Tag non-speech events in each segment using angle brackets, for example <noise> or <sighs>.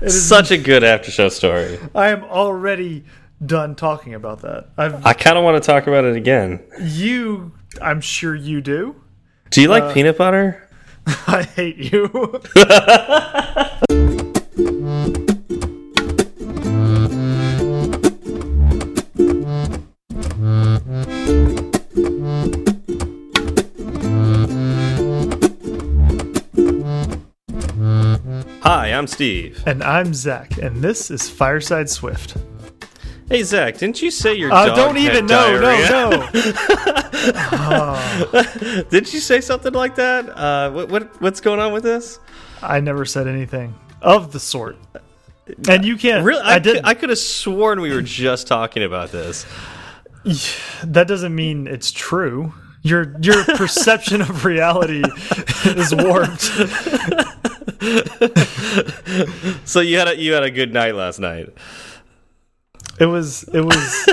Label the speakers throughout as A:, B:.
A: is-
B: Such a good after show story.
A: I am already done talking about that. I've,
B: I kind of want to talk about it again.
A: you, I'm sure you do. <laughs>
B: Do you like peanut butter?
A: I hate you. <laughs>
B: Hi, I'm Steve.
A: and I'm Zach, and this is Fireside Swift.
B: Hey, Zach, didn't you say your
A: Uh,
B: dog
A: don't
B: had
A: even no,
B: diarrhea? <laughs>
A: no, no.
B: Did you say something like that? Uh, what, what what's going on with this?
A: I never said anything of the sort. And you can't.
B: Really,
A: I,
B: I,
A: did.
B: could, I could have sworn we were just talking about this.
A: <sighs> that doesn't mean it's true. Your
B: <laughs>
A: your perception of reality is warped.
B: So you had a, you had a good night last night.
A: It was it was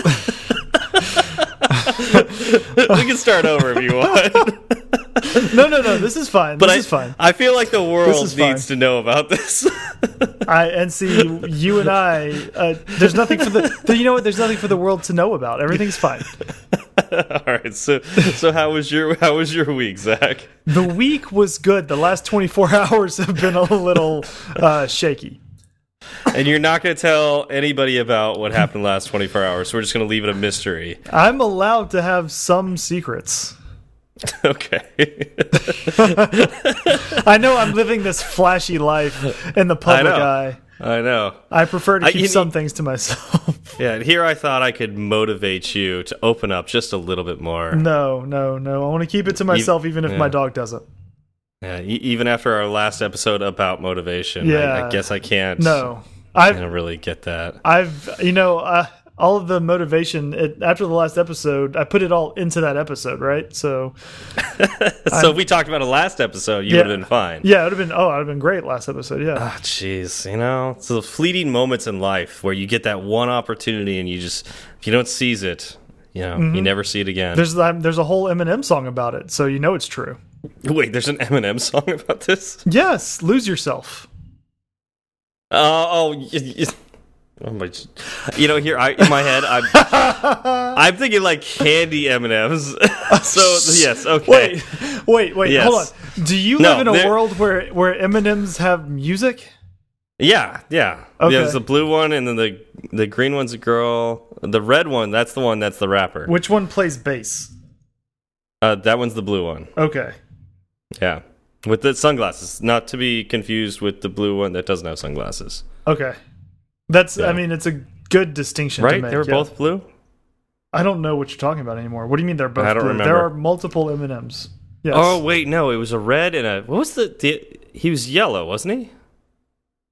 B: <laughs> We can start over
A: <laughs>
B: if you want.
A: no no no. This is fine.
B: But
A: this
B: I,
A: is fine.
B: I feel like the
A: is
B: world
A: fine.
B: needs to know about this. <laughs>
A: I and see you and I. Uh, there's nothing for the th- you know what. There's nothing for the world to know about. Everything's fine.
B: All right. So so how was your how was your week, Zach?
A: The week was good. The last 24 <laughs> hours have been a little uh, shaky.
B: And you're not going to tell anybody about what happened last 24 hours. So we're just going to leave it a mystery. <laughs>
A: I'm allowed to have some secrets.
B: Okay. <laughs>
A: I know I'm living this flashy life in the public
B: I know.
A: eye.
B: I know.
A: I prefer to
B: I-
A: keep
B: you-
A: some things to myself. <laughs>
B: Yeah, and here I thought I could motivate you to open up just a little bit more.
A: No, no, no. I want to keep it to myself, even if my
B: yeah.
A: dog doesn't.
B: Yeah, e even after our last episode about motivation, I- I,
A: Yeah.
B: guess I can't.
A: No,
B: I
A: I've,
B: don't really get
A: <laughs>
B: that.
A: I've, you know, uh, all of the motivation it, after the last episode, I put it all into that episode, right? So,
B: so if we talked about it last episode, you
A: Yeah.
B: would have been fine.
A: yeah, it would have been. Oh, it would have been great last episode. Yeah,
B: Ah, Jeez, you know, it's the fleeting moments in life where you get that one opportunity and you just, if you don't seize it, you know, you never see it again.
A: Mm-hmm. there's um, there's a whole Eminem song about it, so you know it's true.
B: Wait, there's an Eminem song <laughs> about this?
A: Yes, lose yourself.
B: Uh, oh, y y oh my! You know, here I in my head,
A: <laughs>
B: I'm I'm thinking like candy M and M's. <laughs>
A: <laughs>
B: so yes, okay.
A: Wait, <laughs> wait, wait.
B: Yes.
A: Hold on. Do you
B: No,
A: live in a
B: there-
A: world where where Eminems have music?
B: Yeah, yeah.
A: Okay.
B: There's the blue one, and then the the green one's a girl. The red one, that's the one. That's the rapper.
A: Which one plays bass?
B: Uh, that one's the blue one.
A: Okay.
B: Yeah, with the sunglasses. Not to be confused with the blue one that doesn't have sunglasses.
A: Okay. That's. I
B: Yeah.
A: mean, it's a good distinction. To
B: Right?
A: make,
B: They were
A: yeah.
B: both blue.
A: I don't know what you're talking about anymore. What do you mean they're both?
B: I don't
A: blue? There
B: remember.
A: are multiple M and M's. Yes.
B: Oh wait, no, it was a red and a what was the, the he was yellow, wasn't he?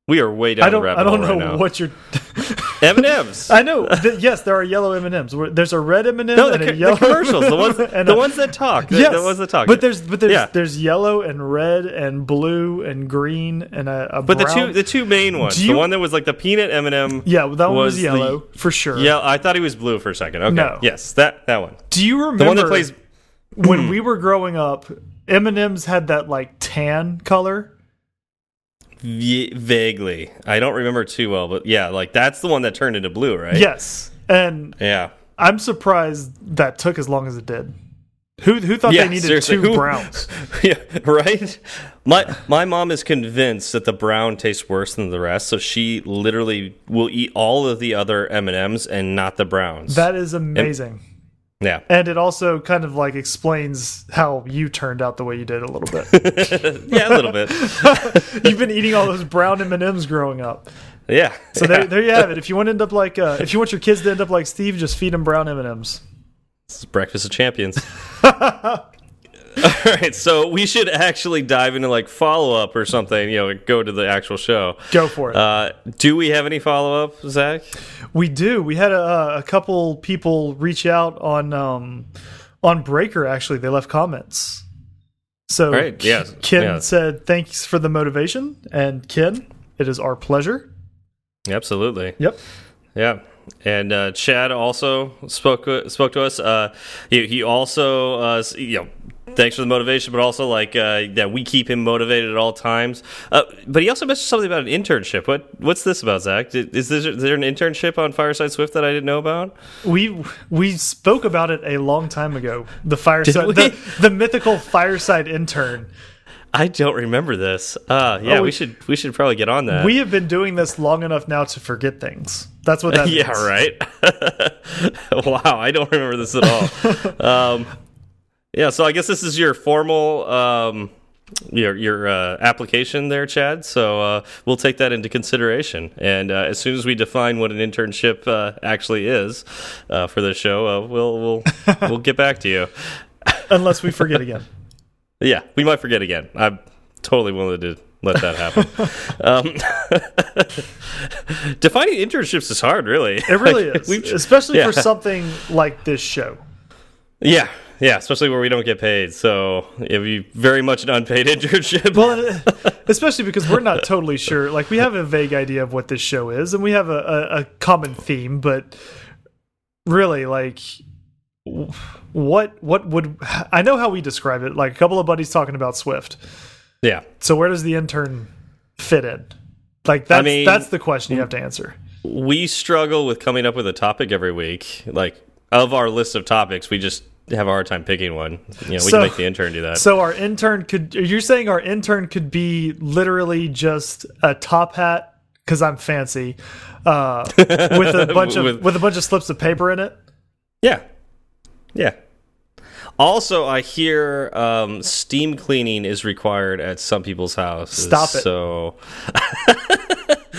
B: We are way down
A: I don't.
B: the rabbit
A: I don't
B: hole
A: know
B: right
A: what you're. <laughs>
B: now. M and M's.
A: I know. Th yes, there are yellow M and M's. There's a red M and M
B: No, the,
A: and
B: co-
A: a yellow
B: the commercials, the ones,
A: <laughs> and
B: the
A: a-
B: ones that talk. The,
A: Yes,
B: the ones that talk.
A: But there's but there's
B: Yeah.
A: there's yellow and red and blue and green and a, a
B: but the
A: brown.
B: two the two main ones.
A: Do
B: the
A: you-
B: one that was like the peanut M and M.
A: Yeah, well, that one was
B: the-
A: yellow for sure.
B: Yeah, I thought he was blue for a second. Okay.
A: No.
B: Yes, that that one.
A: Do you remember
B: The one that plays.
A: when we were growing up? M and M's had that like tan color.
B: v- vaguely. I don't remember too well, but yeah, like that's the one that turned into blue, right?
A: Yes, and
B: Yeah. <laughs>
A: I'm surprised that took as long as it did. Who who thought
B: Yeah,
A: they needed
B: seriously,
A: two
B: who-
A: browns?
B: <laughs> yeah, right. My my mom is convinced that the brown tastes worse than the rest, so she literally will eat all of the other M and M's and not the browns.
A: That is amazing,
B: yeah,
A: and it also kind of like explains how you turned out the way you did a little
B: <laughs>
A: bit.
B: yeah, a little bit.
A: You've been eating all those brown M and M's growing up,
B: Yeah.
A: so there, there you have it. If you want to end up like, uh, if you want your kids to end up like Steve, just feed them brown M and M's.
B: <laughs> It's breakfast of
A: <laughs>
B: champions. all right, so we should actually dive into like follow up or something. You know, go to the actual show.
A: Go for it.
B: Uh, do we have any follow up, Zach?
A: We do. We had a, a couple people reach out on um, on Breaker. Actually, they left comments. So
B: Great.
A: K-
B: Yes.
A: Ken
B: Yeah.
A: said, "Thanks for the motivation." And Ken, it is our pleasure.
B: Absolutely.
A: Yep.
B: Yeah. And uh, Chad also spoke spoke to us. Uh, he, he also uh, s- you know thanks for the motivation, but also like uh, that we keep him motivated at all times. Uh, but he also mentioned something about an internship. What what's this about, Zach? Did- Is, this, is there an internship on Fireside Swift that I didn't know about?
A: We we spoke about it a long time ago. The fireside,
B: we?
A: the, the mythical fireside intern.
B: I don't remember this. Uh, yeah,
A: Oh,
B: we,
A: we-
B: should we should probably get on that. <laughs>
A: We have been doing this long enough now to forget things. That's what that means.
B: <laughs> yeah, right. wow, I don't remember this at
A: <laughs>
B: all. um, yeah, so I guess this is your formal um, your your uh, application there, Chad. So uh, we'll take that into consideration, and uh, as soon as we define what an internship uh, actually is uh, for the show, uh, we'll we'll
A: <laughs>
B: we'll get back to you.
A: Unless we forget again.
B: Yeah, we might forget again. I'm totally willing to let that
A: <laughs>
B: happen. um, <laughs> defining internships is hard, really.
A: It
B: <laughs>
A: really
B: Like,
A: is,
B: we've-
A: <laughs> especially for
B: yeah.
A: something like
B: <laughs>
A: this show.
B: Yeah, yeah, especially where we don't get paid. So it'd be very much an unpaid <laughs> internship.
A: Well, especially because we're not totally sure. Like we have a vague idea of what this show is, and we have a, a, a common theme, but really, like w- what what would I know how we describe it? Like a couple of buddies talking about Swift.
B: yeah.
A: So where does the intern fit in? Like that's
B: mean-
A: that's the question you have to answer.
B: We struggle with coming up with a topic every week. Like, of our list of topics, we just have a hard time picking one. You know, we
A: So-
B: can make the intern do that.
A: So our intern could you're saying our intern could be literally just a top hat because I'm fancy uh,
B: <laughs>
A: with a bunch of
B: With-
A: with a bunch of slips of paper in it.
B: yeah. Yeah. Also, I hear um, steam cleaning is required at some people's houses.
A: Stop it.
B: So,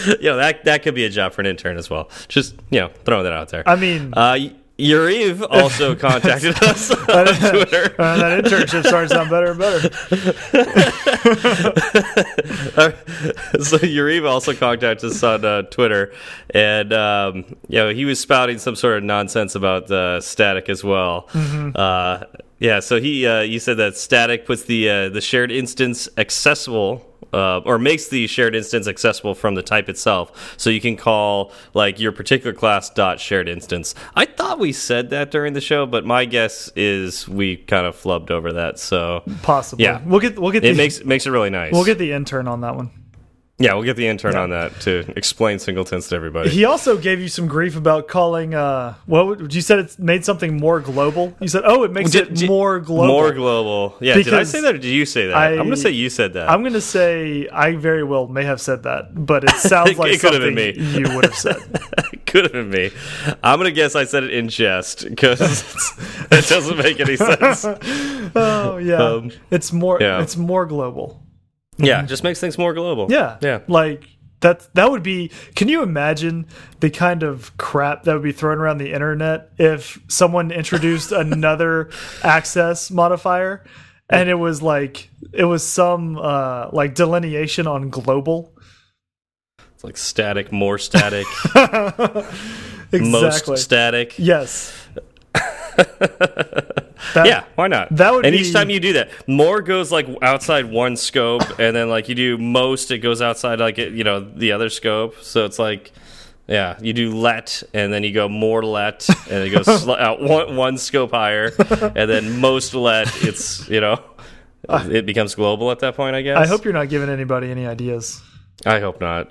B: <laughs> you know, that, that could be a job for an intern as well. Just, you know, throwing that out there.
A: I mean,
B: Uh, Yariv
A: <laughs>
B: also contacted us on Twitter.
A: uh, that internship starts sound better and better.
B: <laughs> so Yariv also contacted us on uh, Twitter, and um, you know he was spouting some sort of nonsense about uh, Static as well.
A: Mm-hmm.
B: Uh, yeah, so he uh, he said that Static puts the uh, the shared instance accessible. Uh, or makes the shared instance accessible from the type itself, so you can call like your particular class dot shared instance. I thought we said that during the show, but my guess is we kind of flubbed over that. So
A: Possibly.
B: Yeah.
A: We'll get we'll get <laughs> the
B: it makes makes it really nice.
A: we'll get the intern on that one.
B: Yeah, we'll get the intern on that to explain singletons to everybody.
A: He also gave you some grief about calling. Uh, what would, you said? It made something more global. You said, "Oh, it makes
B: Did-
A: it
B: did-
A: more global."
B: More global. Yeah, did I
A: Because
B: say that or did you say that?
A: I-
B: I, am going to say you said that. <laughs>
A: I'm gonna say I very well may have said that, but it sounds
B: It
A: like
B: could have
A: something
B: been Um,
A: you would
B: <laughs>
A: have said.
B: Could have been me. I'm going to guess I said it in jest because <laughs> it doesn't make any
A: <laughs>
B: sense.
A: Oh yeah,
B: Um,
A: it's more.
B: yeah.
A: It's more global.
B: Yeah, it just makes things more global.
A: Yeah,
B: Yeah.
A: Like that. That would be. Can you imagine the kind of crap that would be thrown around the internet if
B: <laughs>
A: someone introduced another access modifier, and it was like it was some uh, like delineation on global.
B: It's like static, more static, <laughs> most
A: Exactly.
B: static.
A: yes. That-
B: <laughs> yeah, why not?
A: Uh, that would
B: And
A: be-
B: each time you do that, more goes like outside one scope, and then like you do most, it goes outside like it, you know the other scope. So it's like, yeah, you do let, and then you go more let, and it goes sl- out one one scope
A: <laughs>
B: higher, and then most let. It's you know, it becomes global at that point. I guess.
A: I hope you're not giving anybody any ideas.
B: I hope not.